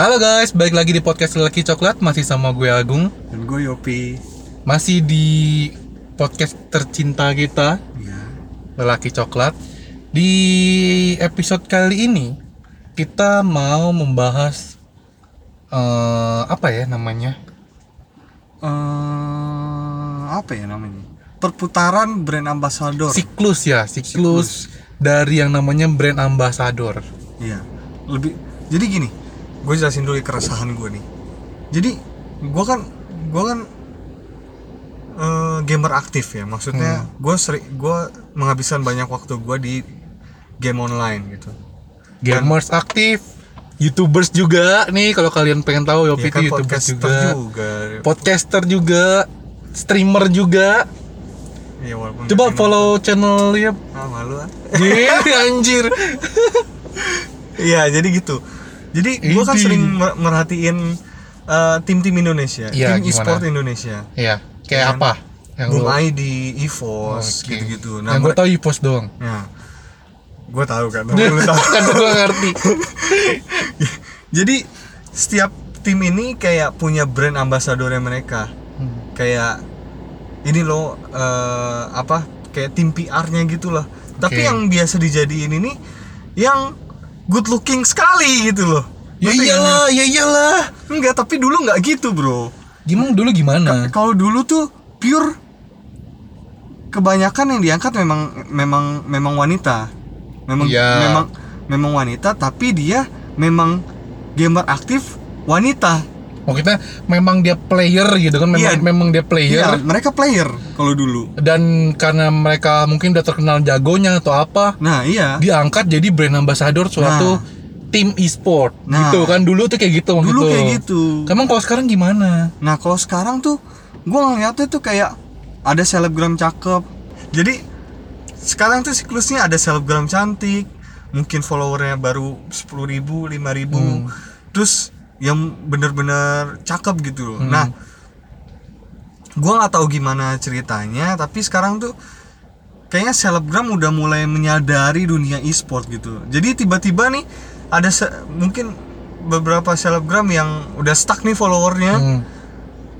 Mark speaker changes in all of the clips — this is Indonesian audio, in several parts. Speaker 1: Halo guys, balik lagi di podcast Lelaki Coklat Masih sama gue Agung
Speaker 2: Dan gue Yopi
Speaker 1: Masih di podcast tercinta kita
Speaker 2: Ya
Speaker 1: Lelaki Coklat Di episode kali ini Kita mau membahas eh Apa ya namanya?
Speaker 2: Eh, Apa ya namanya? Perputaran brand ambassador
Speaker 1: Siklus ya, siklus, Dari yang namanya brand ambassador
Speaker 2: Iya Lebih Jadi gini Gue jelasin dulu keresahan gue nih Jadi Gue kan Gue kan eh, Gamer aktif ya
Speaker 1: Hmm.
Speaker 2: Maksudnya Gue sering Gue menghabiskan banyak waktu gue di Game online gitu
Speaker 1: Gamers aktif Youtubers juga nih kalau kalian pengen tahu Yopi
Speaker 2: Ya kan
Speaker 1: itu Youtubers
Speaker 2: podcaster
Speaker 1: juga
Speaker 2: juga,
Speaker 1: Podcaster juga Streamer juga
Speaker 2: Ya, walaupun
Speaker 1: Coba
Speaker 2: gak
Speaker 1: follow channel ya.
Speaker 2: enak. Ah, malu ah.
Speaker 1: Gini, anjir.
Speaker 2: Iya, jadi gitu. Jadi gue kan
Speaker 1: Idi.
Speaker 2: sering mer- merhatiin eh, tim-tim Indonesia,
Speaker 1: Iya,
Speaker 2: tim
Speaker 1: gimana?
Speaker 2: e-sport Indonesia.
Speaker 1: Iya, kayak
Speaker 2: Kan?
Speaker 1: apa? Yang
Speaker 2: Boom
Speaker 1: lu-
Speaker 2: ID,
Speaker 1: Oh,
Speaker 2: EVOS,
Speaker 1: oke.
Speaker 2: gitu-gitu.
Speaker 1: yang gue
Speaker 2: mereka-
Speaker 1: tahu Ipos doang.
Speaker 2: Nah, gue tahu kan, lu tahu.
Speaker 1: kan gue ngerti.
Speaker 2: Jadi setiap tim ini kayak punya brand ambasadornya mereka.
Speaker 1: Hmm.
Speaker 2: Kayak ini loh eh, apa? Kayak tim PR-nya gitu lah. Tapi
Speaker 1: Oke.
Speaker 2: yang biasa dijadiin ini yang good looking sekali gitu loh.
Speaker 1: Ya
Speaker 2: Ngerti kan?
Speaker 1: iyalah, ya iyalah.
Speaker 2: Enggak, tapi dulu nggak gitu, Bro.
Speaker 1: Gimana dulu gimana?
Speaker 2: Eh, kalau dulu tuh pure kebanyakan yang diangkat memang memang memang wanita memang
Speaker 1: Iya.
Speaker 2: memang memang wanita tapi dia memang gamer aktif wanita
Speaker 1: Oh kita memang dia player gitu kan, memang
Speaker 2: Iya.
Speaker 1: memang dia player.
Speaker 2: iya mereka player kalau dulu
Speaker 1: Dan karena mereka mungkin udah terkenal jagonya atau apa,
Speaker 2: nah iya
Speaker 1: diangkat jadi brand ambassador suatu
Speaker 2: Nah.
Speaker 1: tim e-sport
Speaker 2: Nah.
Speaker 1: gitu kan dulu tuh kayak gitu gitu.
Speaker 2: dulu kayak gitu
Speaker 1: Emang kalau sekarang gimana?
Speaker 2: nah kalau sekarang tuh gua ngeliatnya tuh kayak ada selebgram cakep jadi sekarang tuh siklusnya ada selebgram cantik mungkin followernya baru 10.000 ribu lima ribu
Speaker 1: Hmm.
Speaker 2: terus yang bener-bener cakep gitu loh
Speaker 1: Hmm.
Speaker 2: nah gua nggak tahu gimana ceritanya tapi sekarang tuh kayaknya selebgram udah mulai menyadari dunia e-sport gitu jadi tiba-tiba nih ada se- mungkin beberapa selebgram yang udah stuck nih followernya
Speaker 1: Hmm.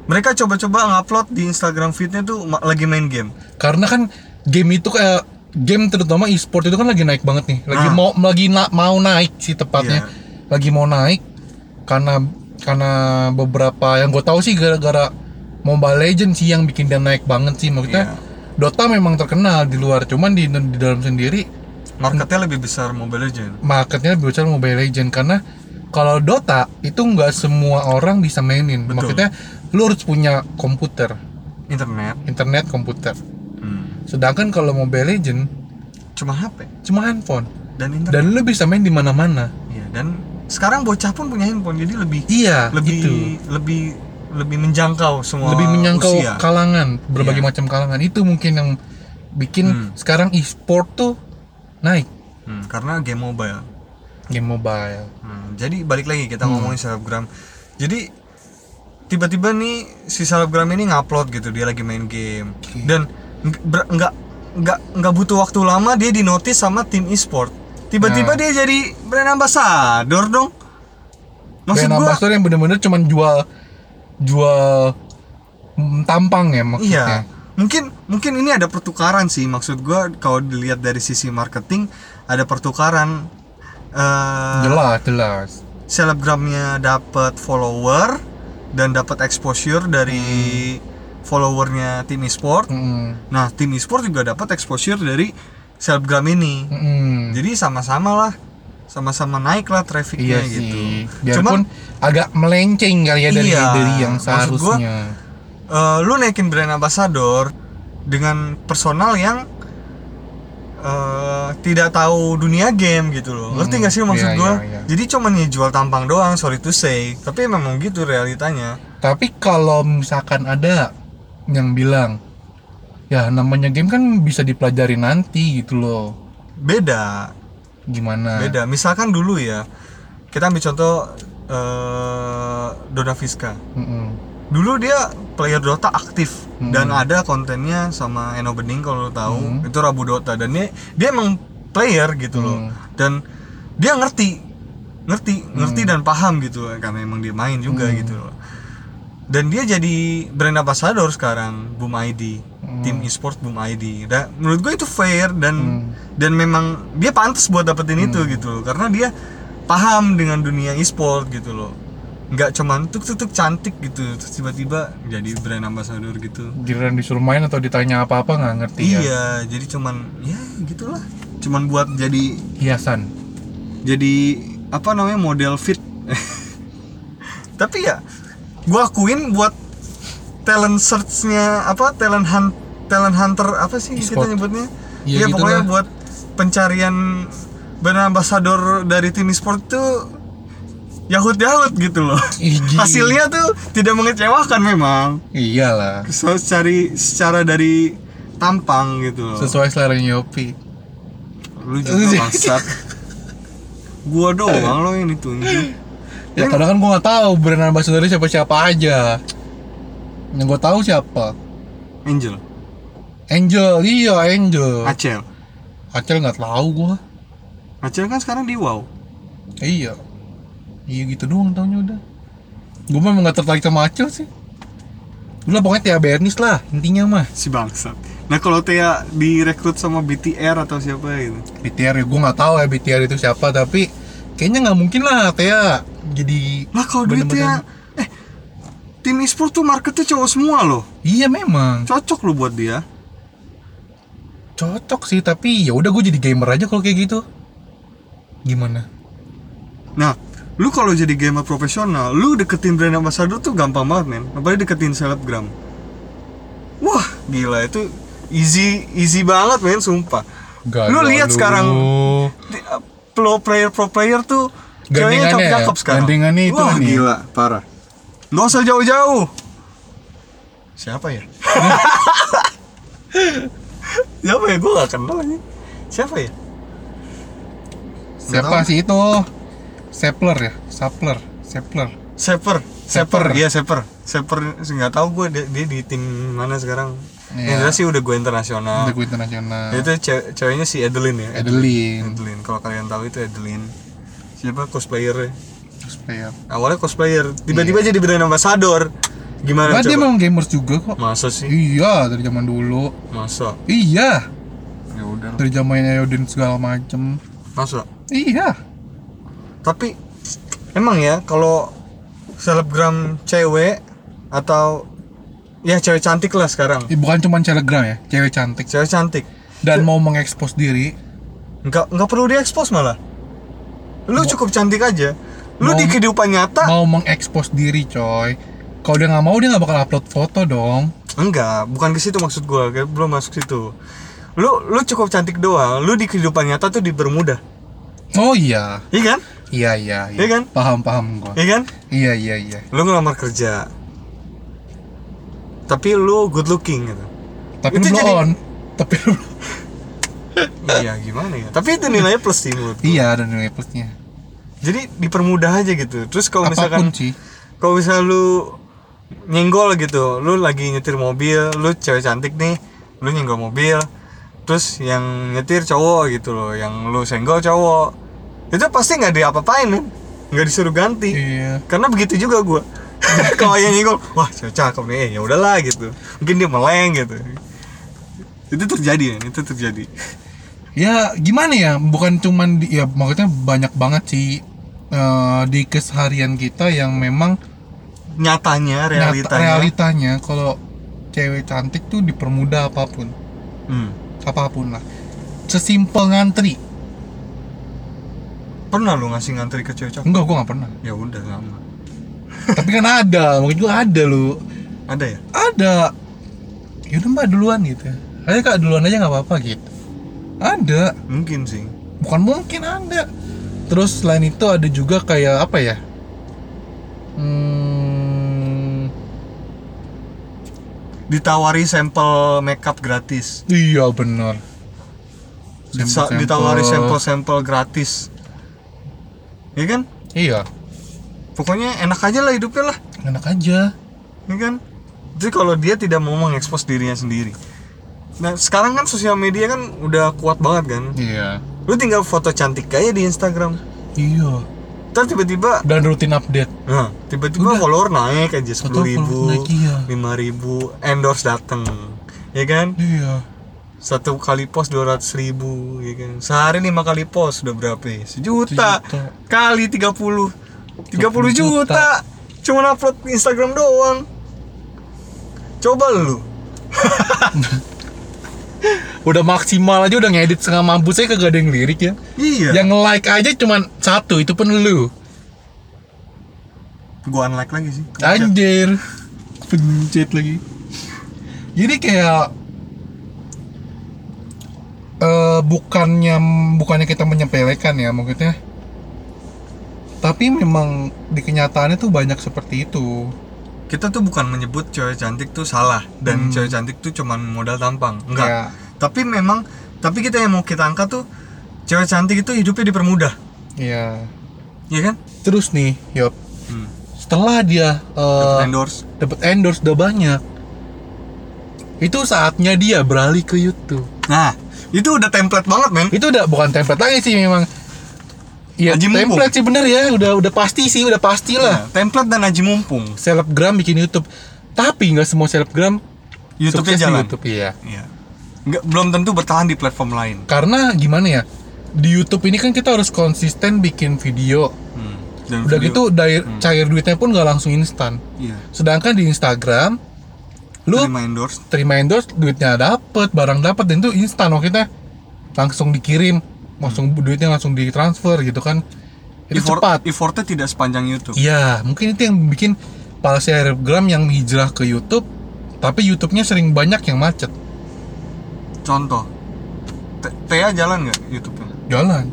Speaker 2: mereka coba-coba ngupload di Instagram feednya tuh ma- lagi main game
Speaker 1: karena kan game itu kayak game terutama e-sport itu kan lagi naik banget nih lagi
Speaker 2: Nah.
Speaker 1: mau lagi na- mau naik sih tepatnya
Speaker 2: Iya.
Speaker 1: lagi mau naik karena karena beberapa yang gue tahu sih gara-gara Mobile Legends sih yang bikin dia naik banget sih maksudnya
Speaker 2: Iya.
Speaker 1: Dota memang terkenal di luar cuman di, di dalam sendiri
Speaker 2: marketnya lebih besar Mobile Legends
Speaker 1: marketnya lebih besar Mobile Legends karena kalau Dota itu nggak semua orang bisa mainin
Speaker 2: Betul.
Speaker 1: maksudnya lu harus punya komputer
Speaker 2: internet
Speaker 1: internet komputer
Speaker 2: Hmm.
Speaker 1: sedangkan kalau Mobile Legends
Speaker 2: cuma HP
Speaker 1: cuma handphone
Speaker 2: dan internet
Speaker 1: dan lu bisa main di mana-mana.
Speaker 2: Iya, dan sekarang bocah pun punya handphone jadi lebih
Speaker 1: Iya,
Speaker 2: lebih
Speaker 1: itu.
Speaker 2: lebih lebih menjangkau semua
Speaker 1: Lebih menyangkau
Speaker 2: usia.
Speaker 1: kalangan, berbagai
Speaker 2: Iya.
Speaker 1: macam kalangan. Itu mungkin yang bikin
Speaker 2: Hmm.
Speaker 1: sekarang e-sport tuh naik
Speaker 2: Hmm, karena game mobile
Speaker 1: game mobile.
Speaker 2: Hmm, jadi balik lagi kita ngomongin selebgram jadi tiba-tiba nih si selebgram ini ngupload gitu dia lagi main game dan ng- ber- nggak nggak nggak butuh waktu lama dia dinotis sama tim e-sport tiba-tiba
Speaker 1: Nah.
Speaker 2: dia jadi brand ambassador dong maksud
Speaker 1: Brand
Speaker 2: gua
Speaker 1: ambassador yang bener-bener cuman jual jual mm, tampang ya maksudnya.
Speaker 2: Iya. Mungkin mungkin ini ada pertukaran sih. Maksud gua kalau dilihat dari sisi marketing ada pertukaran eh
Speaker 1: Jelas, jelas.
Speaker 2: selebgramnya dapat follower dan dapat exposure dari
Speaker 1: Hmm.
Speaker 2: followernya tim e-sport.
Speaker 1: Mm-mm.
Speaker 2: Nah, tim e-sport juga dapat exposure dari selebgram ini.
Speaker 1: Mm-mm.
Speaker 2: Jadi sama-sama lah sama-sama naik lah
Speaker 1: Iya
Speaker 2: trafficnya
Speaker 1: sih.
Speaker 2: gitu.
Speaker 1: Biarpun
Speaker 2: Cuman
Speaker 1: agak melenceng kali ya dari
Speaker 2: Iya,
Speaker 1: dari yang
Speaker 2: maksud gua-
Speaker 1: seharusnya.
Speaker 2: eh, lu naikin brand ambassador dengan personal yang eh, tidak tahu dunia game gitu loh. Ngerti
Speaker 1: Hmm,
Speaker 2: nggak sih maksud
Speaker 1: iya,
Speaker 2: gua?
Speaker 1: iya, iya.
Speaker 2: Jadi cuman ya jual tampang doang, sorry to say. Tapi memang gitu realitanya.
Speaker 1: Tapi kalau misalkan ada yang bilang, ya namanya game kan bisa dipelajari nanti gitu loh.
Speaker 2: Beda,
Speaker 1: Gimana?
Speaker 2: beda. Misalkan dulu ya, kita ambil contoh eh Dona Fiska.
Speaker 1: Mm-mm.
Speaker 2: Dulu dia player Dota aktif
Speaker 1: Hmm.
Speaker 2: dan ada kontennya sama Eno Bening kalau lo tahu,
Speaker 1: Hmm.
Speaker 2: itu Rabu Dota dan dia dia emang player gitu loh.
Speaker 1: Hmm.
Speaker 2: Dan dia ngerti ngerti ngerti dan paham gitu loh, karena emang dia main juga
Speaker 1: Hmm.
Speaker 2: gitu loh dan dia jadi brand ambassador sekarang Boom ID tim e-sport Boom ID dan menurut gue itu fair dan dan memang dia pantas buat dapetin itu gitu loh karena dia paham dengan dunia e-sport gitu loh nggak cuman tuk tuk tuk cantik gitu terus tiba-tiba jadi brand ambassador gitu
Speaker 1: Giliran disuruh main atau ditanya apa-apa nggak ngerti ya.
Speaker 2: iya jadi cuman ya gitulah cuman buat jadi
Speaker 1: Hiasan.
Speaker 2: jadi apa namanya model fit tapi ya gua akuin buat talent search-nya apa talent hunt talent hunter apa sih
Speaker 1: E-sport.
Speaker 2: kita nyebutnya
Speaker 1: Iya,
Speaker 2: Iya
Speaker 1: gitu
Speaker 2: pokoknya
Speaker 1: lah.
Speaker 2: buat pencarian brand ambassador dari tim e-sport tuh yahut yahut gitu loh
Speaker 1: Iji.
Speaker 2: hasilnya tuh tidak mengecewakan memang
Speaker 1: Iyalah.
Speaker 2: so, cari secara dari tampang gitu loh
Speaker 1: Sesuai selera Yopi.
Speaker 2: lu juga bangsat gua doang lo yang ditunjuk
Speaker 1: Ya karena kan gue nggak tahu brand ambassador siapa siapa aja. Yang gue tahu siapa.
Speaker 2: Angel
Speaker 1: Angel, iya Angel.
Speaker 2: Acel
Speaker 1: Acel nggak tahu gue.
Speaker 2: Acel kan sekarang di wow
Speaker 1: Iya. Iya gitu doang taunya udah. Gue mah emang nggak tertarik sama Acel sih. Udah pokoknya Tia Bernis lah intinya mah.
Speaker 2: si bangsat nah kalau Thea direkrut sama BTR atau siapa gitu
Speaker 1: BTR ya gue nggak tahu ya BTR itu siapa tapi kayaknya nggak mungkin lah Tia jadi.
Speaker 2: lah kalau duitnya
Speaker 1: Bener-bener.
Speaker 2: eh tim e-sport tuh marketnya cowok semua loh
Speaker 1: Iya memang
Speaker 2: cocok lo buat dia
Speaker 1: cocok sih tapi ya udah gue jadi gamer aja kalau kayak gitu. Gimana?
Speaker 2: nah lu kalau jadi gamer profesional lu deketin brand ambassador tuh gampang banget men apalagi deketin selebgram wah gila itu easy easy banget men sumpah
Speaker 1: Gak
Speaker 2: Lu lihat sekarang Di- uh, pro player pro player tuh ceweknya
Speaker 1: Gandengannya
Speaker 2: cakep
Speaker 1: ya?
Speaker 2: cakep sekarang
Speaker 1: Gandengannya itu
Speaker 2: Wah,
Speaker 1: nih.
Speaker 2: gila parah nggak usah jauh jauh siapa ya siapa ya gue gak kenal aja siapa ya Nggak
Speaker 1: siapa
Speaker 2: tahu.
Speaker 1: sih itu? Sapler ya, Sapler, Sapler. Seper.
Speaker 2: Seper Seper iya Seper Seper nggak tahu gue dia, dia di tim mana sekarang
Speaker 1: Iya.
Speaker 2: yang jelas sih udah gue internasional
Speaker 1: Udah gue internasional.
Speaker 2: itu ce- ceweknya si Adeline ya
Speaker 1: Adeline,
Speaker 2: Adeline kalau kalian tahu itu Adeline siapa cosplayernya
Speaker 1: cosplayer.
Speaker 2: awalnya cosplayer tiba-tiba
Speaker 1: Iya.
Speaker 2: jadi brand ambassador
Speaker 1: Kan
Speaker 2: gimana
Speaker 1: dia
Speaker 2: coba
Speaker 1: memang gamers juga kok.
Speaker 2: masa sih
Speaker 1: Iya, dari zaman dulu.
Speaker 2: masa
Speaker 1: Iya,
Speaker 2: ya udah
Speaker 1: dari zaman Ayodin segala macem.
Speaker 2: masa
Speaker 1: Iya.
Speaker 2: tapi emang ya kalau selebgram cewek atau ya cewek cantik lah sekarang
Speaker 1: Eh, bukan cuma telegram ya, cewek cantik
Speaker 2: cewek cantik
Speaker 1: dan mau mengekspos diri.
Speaker 2: nggak nggak perlu diekspos malah lu cukup cantik aja lu
Speaker 1: Mau-
Speaker 2: di kehidupan nyata
Speaker 1: Mau mengekspos diri, coy. Kalau dia nggak mau, dia nggak bakal upload foto dong.
Speaker 2: enggak bukan ke situ maksud gua kayak belum masuk situ lu lu cukup cantik doang lu di kehidupan nyata tuh dipermudah
Speaker 1: Oh iya,
Speaker 2: iya kan
Speaker 1: iya iya.
Speaker 2: Iya kan?
Speaker 1: Paham paham gua.
Speaker 2: iya kan
Speaker 1: Iya iya iya.
Speaker 2: lu ngelamar kerja tapi lu good looking gitu
Speaker 1: Tapi
Speaker 2: Itu
Speaker 1: lu blow
Speaker 2: jadi-
Speaker 1: on. Tapi lu
Speaker 2: iya gimana ya tapi itu nilainya plus sih menurut gua.
Speaker 1: iya ada nilai plusnya.
Speaker 2: jadi dipermudah aja gitu terus kalau
Speaker 1: Apapun
Speaker 2: misalkan
Speaker 1: sih.
Speaker 2: kalau misalnya lu nyenggol gitu lu lagi nyetir mobil lu cewek cantik nih lu nyenggol mobil terus yang nyetir cowok gitu loh yang lu senggol cowok itu pasti nggak diapa-apain men. nggak disuruh ganti
Speaker 1: Iya.
Speaker 2: karena begitu juga gua kalau yang nyenggol wah cewek cakep nih eh, ya udahlah gitu mungkin dia meleng gitu itu terjadi ya itu terjadi
Speaker 1: Ya gimana ya? Bukan cuman di, ya maksudnya banyak banget sih eh, di keseharian kita yang memang nyata-
Speaker 2: nyatanya realitanya
Speaker 1: realitanya kalau cewek cantik tuh dipermudah apapun,
Speaker 2: Hmm.
Speaker 1: apapun lah. Sesimpel ngantri.
Speaker 2: pernah lu ngasih ngantri ke cewek cakep
Speaker 1: Enggak, gua nggak pernah.
Speaker 2: ya udah lama
Speaker 1: Tapi kan ada, mungkin juga ada lu.
Speaker 2: ada ya
Speaker 1: Ada. Ya udah mbak duluan gitu. Ayo kak duluan aja nggak apa-apa gitu. Ada.
Speaker 2: mungkin sih
Speaker 1: bukan mungkin ada terus selain itu ada juga kayak apa ya hmm,
Speaker 2: ditawari sampel makeup gratis
Speaker 1: iya benar
Speaker 2: Disa- ditawari sampel-sampel gratis ya kan
Speaker 1: iya
Speaker 2: pokoknya enak aja lah hidupnya lah
Speaker 1: enak aja
Speaker 2: ya kan jadi kalau dia tidak mau mengekspos dirinya sendiri nah sekarang kan sosial media kan udah kuat banget kan
Speaker 1: iya
Speaker 2: lu tinggal foto cantik aja di Instagram
Speaker 1: iya
Speaker 2: Ntar tiba-tiba
Speaker 1: dan rutin update
Speaker 2: nah, tiba-tiba
Speaker 1: Udah.
Speaker 2: follower naik aja
Speaker 1: Atau
Speaker 2: sepuluh ribu,
Speaker 1: follower naik, iya.
Speaker 2: lima ribu, endorse dateng, ya kan?
Speaker 1: iya
Speaker 2: Satu kali post dua ratus ribu, ya kan? Sehari lima kali post udah berapa? Ya? Sejuta
Speaker 1: Sejuta.
Speaker 2: kali tiga puluh, tiga puluh
Speaker 1: 30
Speaker 2: juta.
Speaker 1: juta.
Speaker 2: Cuman upload Instagram doang. Coba lu,
Speaker 1: udah maksimal aja udah ngedit setengah mampus saya kagak ada yang lirik ya
Speaker 2: iya.
Speaker 1: yang like aja cuman satu itu pun lu
Speaker 2: Gua unlike lagi sih.
Speaker 1: anjir Iya. pencet lagi jadi kayak eh bukannya bukannya kita menyepelekan ya maksudnya tapi memang di kenyataannya tuh banyak seperti itu
Speaker 2: kita tuh bukan menyebut cewek cantik tuh salah
Speaker 1: Hmm.
Speaker 2: dan
Speaker 1: Ya.
Speaker 2: cewek cantik tuh cuman modal tampang enggak
Speaker 1: Kayak,
Speaker 2: tapi memang tapi kita yang mau kita angkat tuh cewek cantik itu hidupnya dipermudah
Speaker 1: iya
Speaker 2: ya kan
Speaker 1: terus nih yop
Speaker 2: hmm.
Speaker 1: setelah dia eh,
Speaker 2: endorse
Speaker 1: dapat endorse udah banyak itu saatnya dia beralih ke YouTube
Speaker 2: nah itu udah template banget men
Speaker 1: itu udah bukan template lagi sih memang ya
Speaker 2: Aji mumpung.
Speaker 1: template sih bener ya udah udah pasti sih udah
Speaker 2: Nah,
Speaker 1: pastilah
Speaker 2: template dan aji mumpung
Speaker 1: selebgram bikin YouTube tapi nggak semua selebgram
Speaker 2: YouTube-nya
Speaker 1: sukses di
Speaker 2: jalan
Speaker 1: YouTube iya
Speaker 2: Iya. Nggak- belum tentu bertahan di platform lain
Speaker 1: karena gimana ya di YouTube ini kan kita harus konsisten bikin video
Speaker 2: hmm. dan
Speaker 1: udah
Speaker 2: video-
Speaker 1: gitu
Speaker 2: Hmm.
Speaker 1: dair, cair duitnya pun nggak langsung instan
Speaker 2: iya
Speaker 1: sedangkan di Instagram lu
Speaker 2: terima endorse
Speaker 1: terima endorse duitnya dapet barang dapet dan itu instan maksudnya langsung dikirim langsung duitnya langsung ditransfer gitu kan itu
Speaker 2: Effort-
Speaker 1: cepat
Speaker 2: effortnya tidak sepanjang YouTube
Speaker 1: iya mungkin itu yang bikin para selebgram yang hijrah ke YouTube tapi YouTube-nya sering banyak yang macet
Speaker 2: contoh T- Tea jalan nggak YouTube-nya
Speaker 1: jalan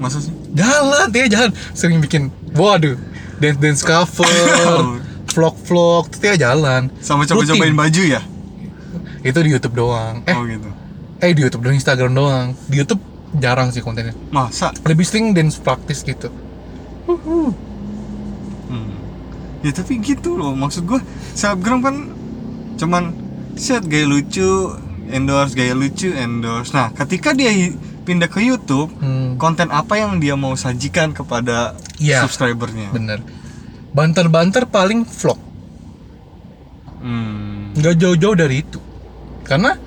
Speaker 2: masa sih
Speaker 1: jalan dia jalan sering bikin waduh dance dance cover vlog vlog itu dia jalan
Speaker 2: sama
Speaker 1: Rutin.
Speaker 2: coba-cobain baju ya
Speaker 1: itu di YouTube doang eh
Speaker 2: oh gitu
Speaker 1: eh di YouTube doang Instagram doang di YouTube jarang sih kontennya
Speaker 2: masa
Speaker 1: lebih sering dance practice gitu
Speaker 2: Hmm. Ya tapi gitu loh maksud gue selebgram kan cuman set gaya lucu endorse gaya lucu endorse. Nah ketika dia hi- pindah ke YouTube
Speaker 1: Hmm.
Speaker 2: konten apa yang dia mau sajikan kepada
Speaker 1: Iya.
Speaker 2: subscribernya?
Speaker 1: Bener. Banter-banter paling vlog.
Speaker 2: Hmm.
Speaker 1: Nggak jauh-jauh dari itu. Karena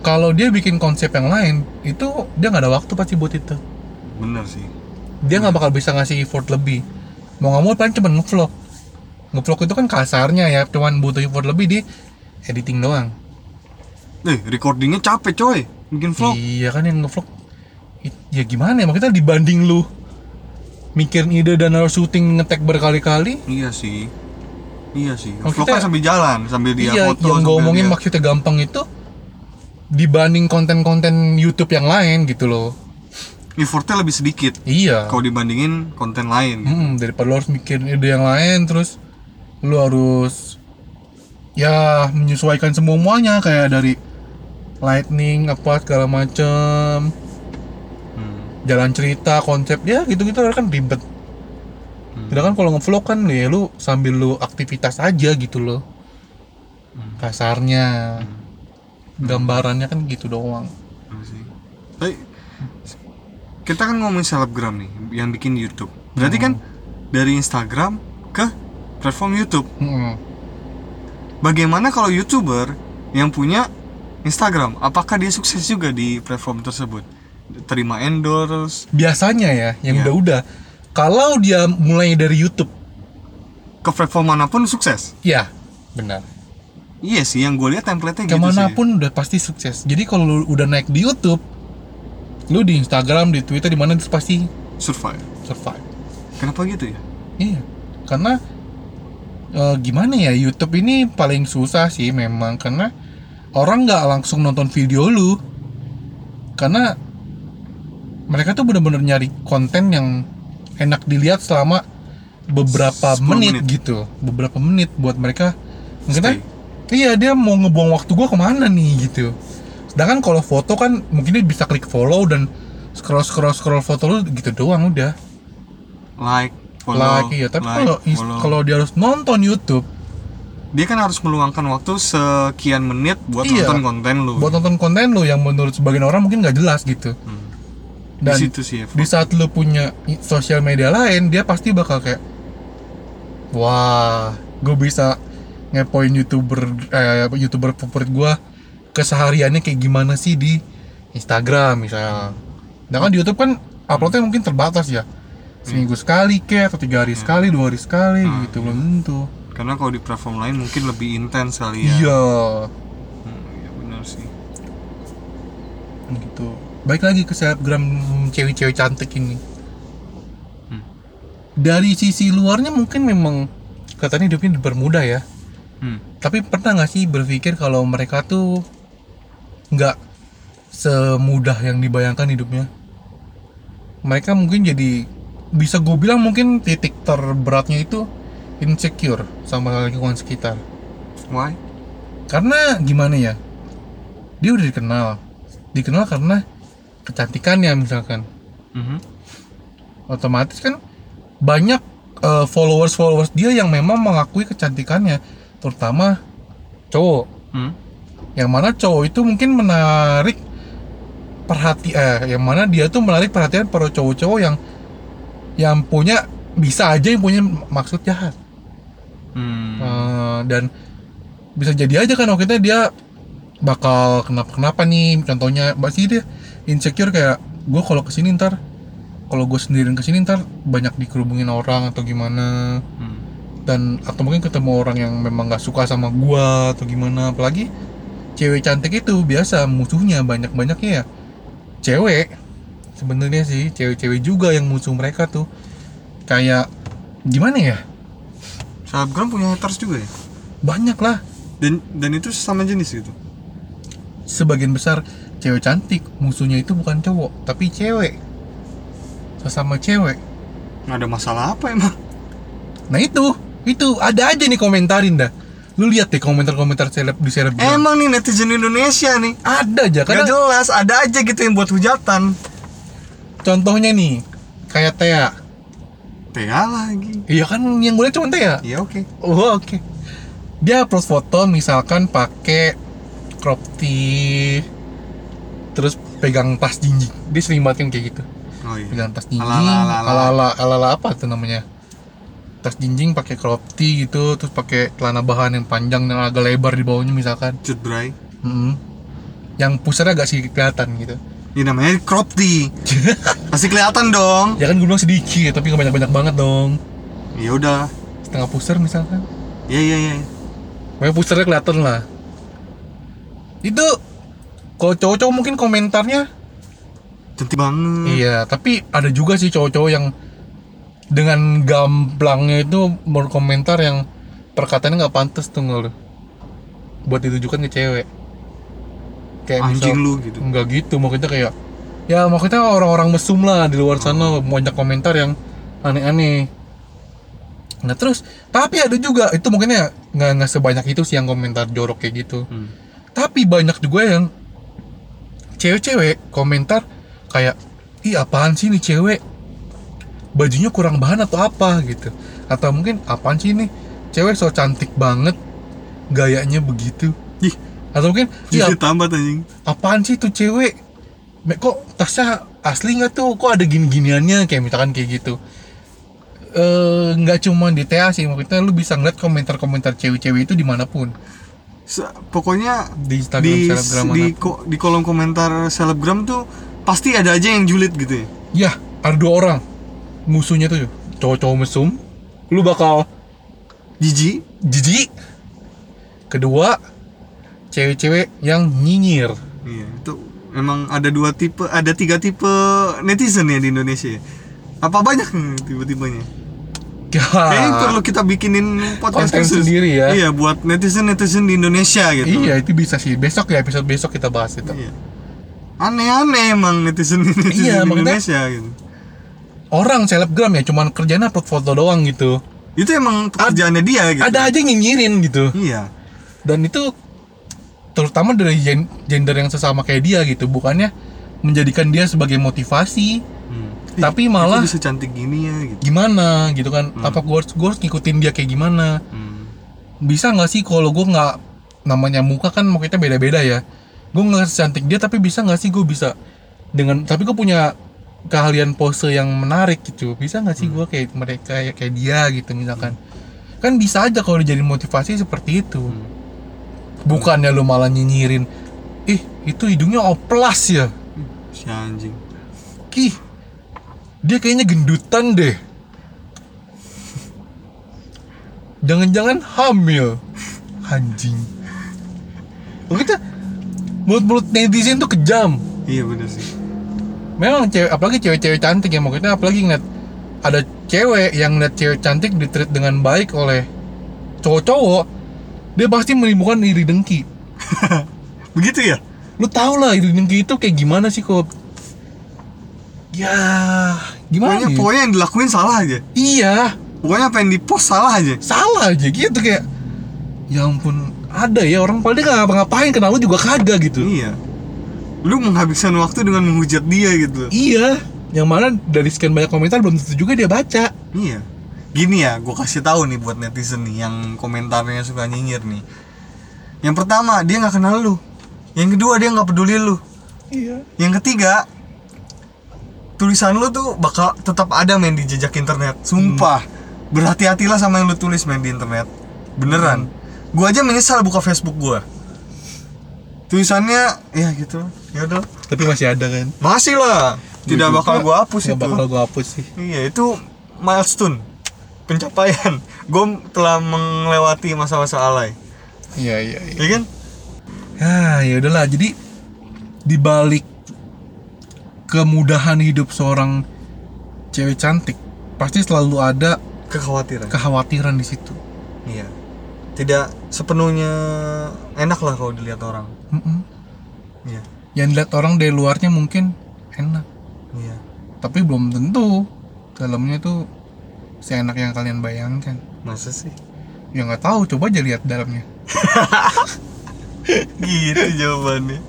Speaker 1: kalau dia bikin konsep yang lain, itu dia nggak ada waktu pasti buat itu.
Speaker 2: Bener sih.
Speaker 1: Dia nggak bakal bisa ngasih effort lebih. Mau nggak mau paling cuma ngevlog. Ngevlog itu kan kasarnya ya, cuman butuh effort lebih di editing doang.
Speaker 2: Eh recordingnya capek coy bikin vlog.
Speaker 1: Iya kan yang ngevlog i- ya gimana ya maksudnya dibanding lu mikirin ide dan harus syuting ngetek berkali-kali
Speaker 2: Iya sih. Iya sih.
Speaker 1: Oh,
Speaker 2: vlog
Speaker 1: kita-
Speaker 2: kan sambil jalan sambil dia
Speaker 1: iya,
Speaker 2: foto.
Speaker 1: yang gue
Speaker 2: sambil
Speaker 1: omongin
Speaker 2: dia-
Speaker 1: maksudnya gampang itu dibanding konten-konten YouTube yang lain gitu loh.
Speaker 2: Effortnya lebih sedikit
Speaker 1: Iya.
Speaker 2: kalau dibandingin konten lain.
Speaker 1: Mm, daripada lo harus mikirin ide yang lain terus lo harus ya menyesuaikan semua muanya kayak dari lightning apa segala macem
Speaker 2: Hmm.
Speaker 1: jalan cerita konsep ya gitu-gitu kan ribet.
Speaker 2: Hmm.
Speaker 1: Sedangkan kalau ngevlog kan ya lu sambil lu aktivitas aja gitu loh.
Speaker 2: Hmm.
Speaker 1: Kasarnya gambarannya kan gitu doang.
Speaker 2: Bener sih. Tapi kita kan ngomongin selebgram nih yang bikin YouTube. Berarti
Speaker 1: Oh.
Speaker 2: kan dari Instagram ke platform YouTube.
Speaker 1: Mm-mm.
Speaker 2: Bagaimana kalau YouTuber yang punya Instagram, apakah dia sukses juga di platform tersebut? Terima endorse
Speaker 1: biasanya ya yang
Speaker 2: Iya.
Speaker 1: udah-udah kalau dia mulai dari YouTube
Speaker 2: ke platform manapun sukses.
Speaker 1: ya benar
Speaker 2: Iya sih, yang gue lihat template-nya gitu sih.
Speaker 1: kemanapun udah pasti sukses jadi kalau lu udah naik di YouTube lu di Instagram di Twitter di mana itu pasti
Speaker 2: Survive.
Speaker 1: survive
Speaker 2: Kenapa gitu ya?
Speaker 1: iya karena eh, gimana ya YouTube ini paling susah sih memang karena orang nggak langsung nonton video lu karena mereka tuh bener-bener nyari konten yang enak dilihat selama beberapa
Speaker 2: 10
Speaker 1: menit,
Speaker 2: menit.
Speaker 1: gitu beberapa menit buat mereka
Speaker 2: Stay.
Speaker 1: mungkin iya dia mau ngebuang waktu gua kemana nih gitu sedangkan kalau foto kan mungkin dia bisa klik follow dan scroll scroll scroll foto lu gitu doang udah
Speaker 2: Like,
Speaker 1: like
Speaker 2: follow,
Speaker 1: iya tapi
Speaker 2: like,
Speaker 1: kalau is-
Speaker 2: follow.
Speaker 1: kalau dia harus nonton YouTube
Speaker 2: dia kan harus meluangkan waktu sekian menit buat
Speaker 1: Iya.
Speaker 2: nonton konten lu.
Speaker 1: buat nonton konten lu yang menurut sebagian orang mungkin nggak jelas gitu
Speaker 2: Hmm. di
Speaker 1: dan
Speaker 2: situ sih ya,
Speaker 1: di saat lu punya i- sosial media lain dia pasti bakal kayak wah gue bisa ngepoin youtuber eh, youtuber favorit gue kesehariannya kayak gimana sih di Instagram misalnya nah kan di YouTube kan uploadnya mungkin terbatas ya seminggu sekali kayak atau tiga hari sekali dua hari sekali
Speaker 2: Hmm.
Speaker 1: gitu belum tentu
Speaker 2: karena kalau di platform lain mungkin lebih intens kali ya
Speaker 1: iya
Speaker 2: Hmm, iya benar sih
Speaker 1: gitu baik lagi ke selebgram cewek-cewek cantik ini
Speaker 2: Hmm.
Speaker 1: dari sisi luarnya mungkin memang katanya hidupnya dipermudah ya
Speaker 2: Hmm.
Speaker 1: tapi pernah nggak sih berpikir kalau mereka tuh nggak semudah yang dibayangkan hidupnya mereka mungkin jadi bisa gue bilang mungkin titik terberatnya itu insecure sama lingkungan sekitar
Speaker 2: why
Speaker 1: karena gimana ya dia udah dikenal dikenal karena kecantikannya misalkan
Speaker 2: Mhm.
Speaker 1: otomatis kan banyak followers followers dia yang memang mengakui kecantikannya terutama cowok
Speaker 2: Hmm.
Speaker 1: yang mana cowok itu mungkin menarik perhati eh yang mana dia tuh menarik perhatian para cowok-cowok yang yang punya bisa aja yang punya maksud jahat
Speaker 2: Hmm.
Speaker 1: Eh, dan bisa jadi aja kan waktu itu dia bakal kenapa kenapa nih contohnya pasti dia insecure kayak gue kalau kesini ntar kalau gue sendirian kesini ntar banyak dikerubungin orang atau gimana
Speaker 2: Hmm.
Speaker 1: dan atau mungkin ketemu orang yang memang nggak suka sama gua atau gimana apalagi cewek cantik itu biasa musuhnya banyak banyaknya ya cewek sebenarnya sih cewek-cewek juga yang musuh mereka tuh kayak gimana ya
Speaker 2: selebgram punya haters juga ya
Speaker 1: banyak lah
Speaker 2: dan dan itu sama jenis gitu
Speaker 1: sebagian besar cewek cantik musuhnya itu bukan cowok tapi cewek sesama cewek
Speaker 2: nggak ada masalah apa emang
Speaker 1: nah itu itu ada aja nih komentarin dah lu lihat deh komentar-komentar seleb di selebgram
Speaker 2: emang nih netizen Indonesia nih
Speaker 1: ada aja
Speaker 2: Gak
Speaker 1: karena
Speaker 2: jelas, ada aja gitu yang buat hujatan
Speaker 1: contohnya nih kayak Thea
Speaker 2: Tea lagi
Speaker 1: iya kan yang gue liat cuma Thea
Speaker 2: Ya oke
Speaker 1: oh oke dia upload foto misalkan pakai crop tee terus pegang tas jinjing dia sering banget yang kayak gitu
Speaker 2: Oh iya
Speaker 1: pegang tas jinjing
Speaker 2: Ala-ala,
Speaker 1: ala-ala
Speaker 2: ala-ala.
Speaker 1: ala-ala ala-ala apa tuh namanya tas jinjing pakai crop tee gitu terus pakai celana bahan yang panjang dan agak lebar di bawahnya misalkan
Speaker 2: Cut bray
Speaker 1: Mm-mm. yang pusarnya agak sedikit kelihatan gitu
Speaker 2: Ini namanya crop tee Pasti kelihatan dong
Speaker 1: ya kan gue bilang sedikit tapi nggak banyak-banyak banget dong
Speaker 2: Ya udah
Speaker 1: setengah pusar misalkan
Speaker 2: Ya ya ya
Speaker 1: Pokoknya pusarnya kelihatan lah itu kalau cowok-cowok mungkin komentarnya
Speaker 2: Cantik banget
Speaker 1: Iya, tapi ada juga sih cowok-cowok yang dengan gamblangnya itu berkomentar yang perkataannya nggak pantas tuh nggak lu buat ditujukan ke cewek kayak
Speaker 2: Anjing
Speaker 1: misal-
Speaker 2: lu gitu
Speaker 1: nggak gitu maksudnya kayak ya maksudnya orang-orang mesum lah di luar sana banyak komentar yang aneh-aneh nah terus tapi ada juga itu mungkin ya nggak nggak sebanyak itu sih yang komentar jorok kayak gitu
Speaker 2: Hmm.
Speaker 1: tapi banyak juga yang cewek-cewek komentar kayak ih apaan sih nih cewek bajunya kurang bahan atau apa gitu atau mungkin apaan sih nih cewek so cantik banget gayanya begitu
Speaker 2: Ih.
Speaker 1: atau mungkin "Ih,
Speaker 2: Jadi tambah anjing
Speaker 1: apaan sih tuh cewek Me- kok tasnya asli nggak tuh kok ada gini-giniannya kayak misalkan kayak gitu Eh, nggak cuma di TA sih maksudnya lu bisa ngeliat komentar-komentar cewek-cewek itu dimanapun
Speaker 2: Se- Pokoknya
Speaker 1: di Instagram
Speaker 2: di
Speaker 1: selebgram
Speaker 2: di,
Speaker 1: manapun.
Speaker 2: ko- di kolom komentar selebgram tuh Pasti ada aja yang julid gitu ya
Speaker 1: ya ada dua orang musuhnya tuh cowok-cowok mesum lu bakal
Speaker 2: Jiji
Speaker 1: jijik kedua cewek-cewek yang nyinyir
Speaker 2: Iya itu Emang ada dua tipe Ada tiga tipe netizen ya di Indonesia ya? Apa banyak nih tiba-tibanya?
Speaker 1: Ya.
Speaker 2: Kayaknya perlu kita bikinin podcast
Speaker 1: Ah. Konten
Speaker 2: khusus.
Speaker 1: sendiri ya.
Speaker 2: Iya, buat netizen-netizen di Indonesia gitu.
Speaker 1: iya itu bisa sih besok ya episode besok kita bahas itu
Speaker 2: Iya. Aneh-aneh emang netizen netizen
Speaker 1: Iya,
Speaker 2: di
Speaker 1: makanya-
Speaker 2: Indonesia gitu.
Speaker 1: orang selebgram ya cuman kerjanya upload foto doang gitu
Speaker 2: Itu emang pekerjaannya dia gitu.
Speaker 1: ada aja yang nyinyirin gitu
Speaker 2: Iya.
Speaker 1: dan itu terutama dari gen- gender yang sesama kayak dia gitu bukannya menjadikan dia sebagai motivasi
Speaker 2: Hmm. Ih,
Speaker 1: tapi
Speaker 2: itu
Speaker 1: malah
Speaker 2: bisa Hmm. cantik gini ya gitu.
Speaker 1: gimana gitu kan apa gue harus, gua harus ngikutin dia kayak gimana
Speaker 2: Hmm.
Speaker 1: bisa nggak sih kalau gue nggak namanya muka kan mau kita beda-beda ya gue nggak secantik dia tapi bisa nggak sih gue bisa dengan tapi gue punya keahlian pose yang menarik gitu bisa nggak sih gua kayak mereka ya kayak dia gitu misalkan kan bisa aja kalau dijadiin motivasi seperti itu bukannya lu malah nyinyirin ih itu hidungnya oplas ya
Speaker 2: si anjing
Speaker 1: Kih, dia kayaknya gendutan deh. Jangan-jangan hamil, anjing. Loh kita mulut-mulut netizen tuh kejam.
Speaker 2: iya bener sih
Speaker 1: Memang cewek, apalagi cewek-cewek cantik ya maksudnya apalagi ngeliat ada cewek yang ngeliat cewek cantik ditreat dengan baik oleh cowok-cowok, dia pasti menimbulkan iri dengki.
Speaker 2: begitu ya
Speaker 1: Lu tau lah iri dengki itu kayak gimana sih kok? Ya, gimana?
Speaker 2: pokoknya
Speaker 1: ya?
Speaker 2: pokoknya yang dilakuin salah aja
Speaker 1: Iya,
Speaker 2: pokoknya apa yang di post salah aja
Speaker 1: salah aja gitu kayak ya ampun ada ya orang paling nggak ngapa-ngapain kenal lu juga kagak gitu
Speaker 2: iya lu menghabiskan waktu dengan menghujat dia gitu
Speaker 1: iya yang mana dari sekian banyak komentar belum tentu juga dia baca
Speaker 2: Iya. Gini ya, gue kasih tahu nih buat netizen nih yang komentarnya suka nyinyir nih. Yang pertama, dia nggak kenal lu. Yang kedua, dia nggak peduli lu.
Speaker 1: iya
Speaker 2: Yang ketiga, tulisan lu tuh bakal tetap ada main di jejak internet. Sumpah.
Speaker 1: Hmm.
Speaker 2: Berhati-hatilah sama yang lu tulis main di internet.
Speaker 1: Hmm.
Speaker 2: Beneran. Gua aja menyesal buka Facebook gua. Tulisannya ya gitu. Ya udah.
Speaker 1: tapi masih ada kan
Speaker 2: Masih lah. Tidak
Speaker 1: Gua juga
Speaker 2: bakal gua hapus
Speaker 1: nggak
Speaker 2: itu.
Speaker 1: bakal gua hapus sih
Speaker 2: Iya itu milestone pencapaian. Gue telah melewati masa-masa alay,
Speaker 1: iya iya iya
Speaker 2: ya kan?
Speaker 1: ya ya udahlah jadi dibalik kemudahan hidup seorang cewek cantik pasti selalu ada
Speaker 2: Kekhawatiran.
Speaker 1: kekhawatiran di situ
Speaker 2: Iya. Tidak sepenuhnya enak lah kalau dilihat orang.
Speaker 1: Mm-mm.
Speaker 2: Iya.
Speaker 1: yang dilihat orang dari luarnya mungkin enak
Speaker 2: Iya.
Speaker 1: tapi belum tentu dalamnya tuh seenak yang kalian bayangkan
Speaker 2: Masa sih?
Speaker 1: ya nggak tahu coba aja lihat dalamnya
Speaker 2: gitu jawabannya.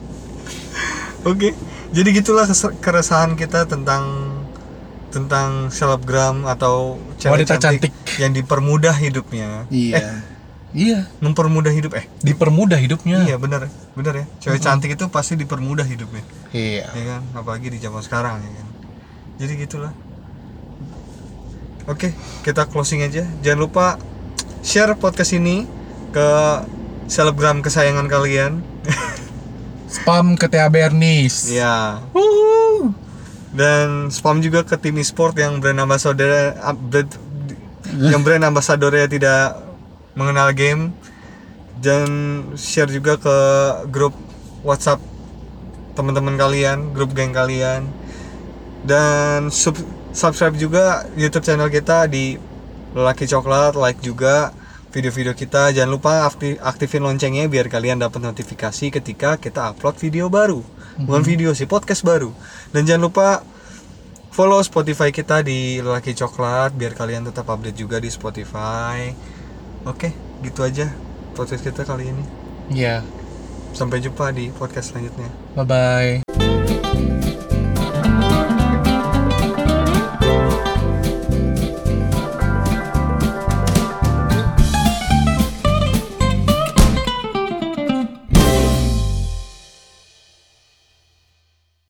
Speaker 2: Oke. Jadi gitulah kes- keresahan kita tentang tentang selebgram atau cewek
Speaker 1: Wanita cantik.
Speaker 2: yang dipermudah hidupnya. Eh,
Speaker 1: iya
Speaker 2: mempermudah hidup eh.
Speaker 1: dipermudah hidupnya
Speaker 2: Iya benar, benar ya. Cewek cantik itu pasti dipermudah hidupnya,
Speaker 1: iya
Speaker 2: ya kan? Apalagi di zaman sekarang ya kan. Jadi gitulah. Oke, kita closing aja. Jangan lupa share podcast ini ke selebgram kesayangan kalian.
Speaker 1: spam ke Thea Bernis
Speaker 2: Ya.
Speaker 1: Wuhu.
Speaker 2: Dan spam juga ke tim e-sport yang brand ambassador yang brand ambassadornya tidak mengenal game. Dan share juga ke grup WhatsApp teman-teman kalian, grup geng kalian. Dan sub- subscribe juga YouTube channel kita di Lelaki Coklat, like juga video-video kita. Jangan lupa akti- aktifin loncengnya biar kalian dapat notifikasi ketika kita upload video baru. Bukan video sih, podcast baru. Dan jangan lupa follow Spotify kita di Lelaki Coklat biar kalian tetap update juga di Spotify. Oke, gitu aja podcast kita kali ini.
Speaker 1: iya
Speaker 2: Sampai jumpa di podcast selanjutnya.
Speaker 1: bye bye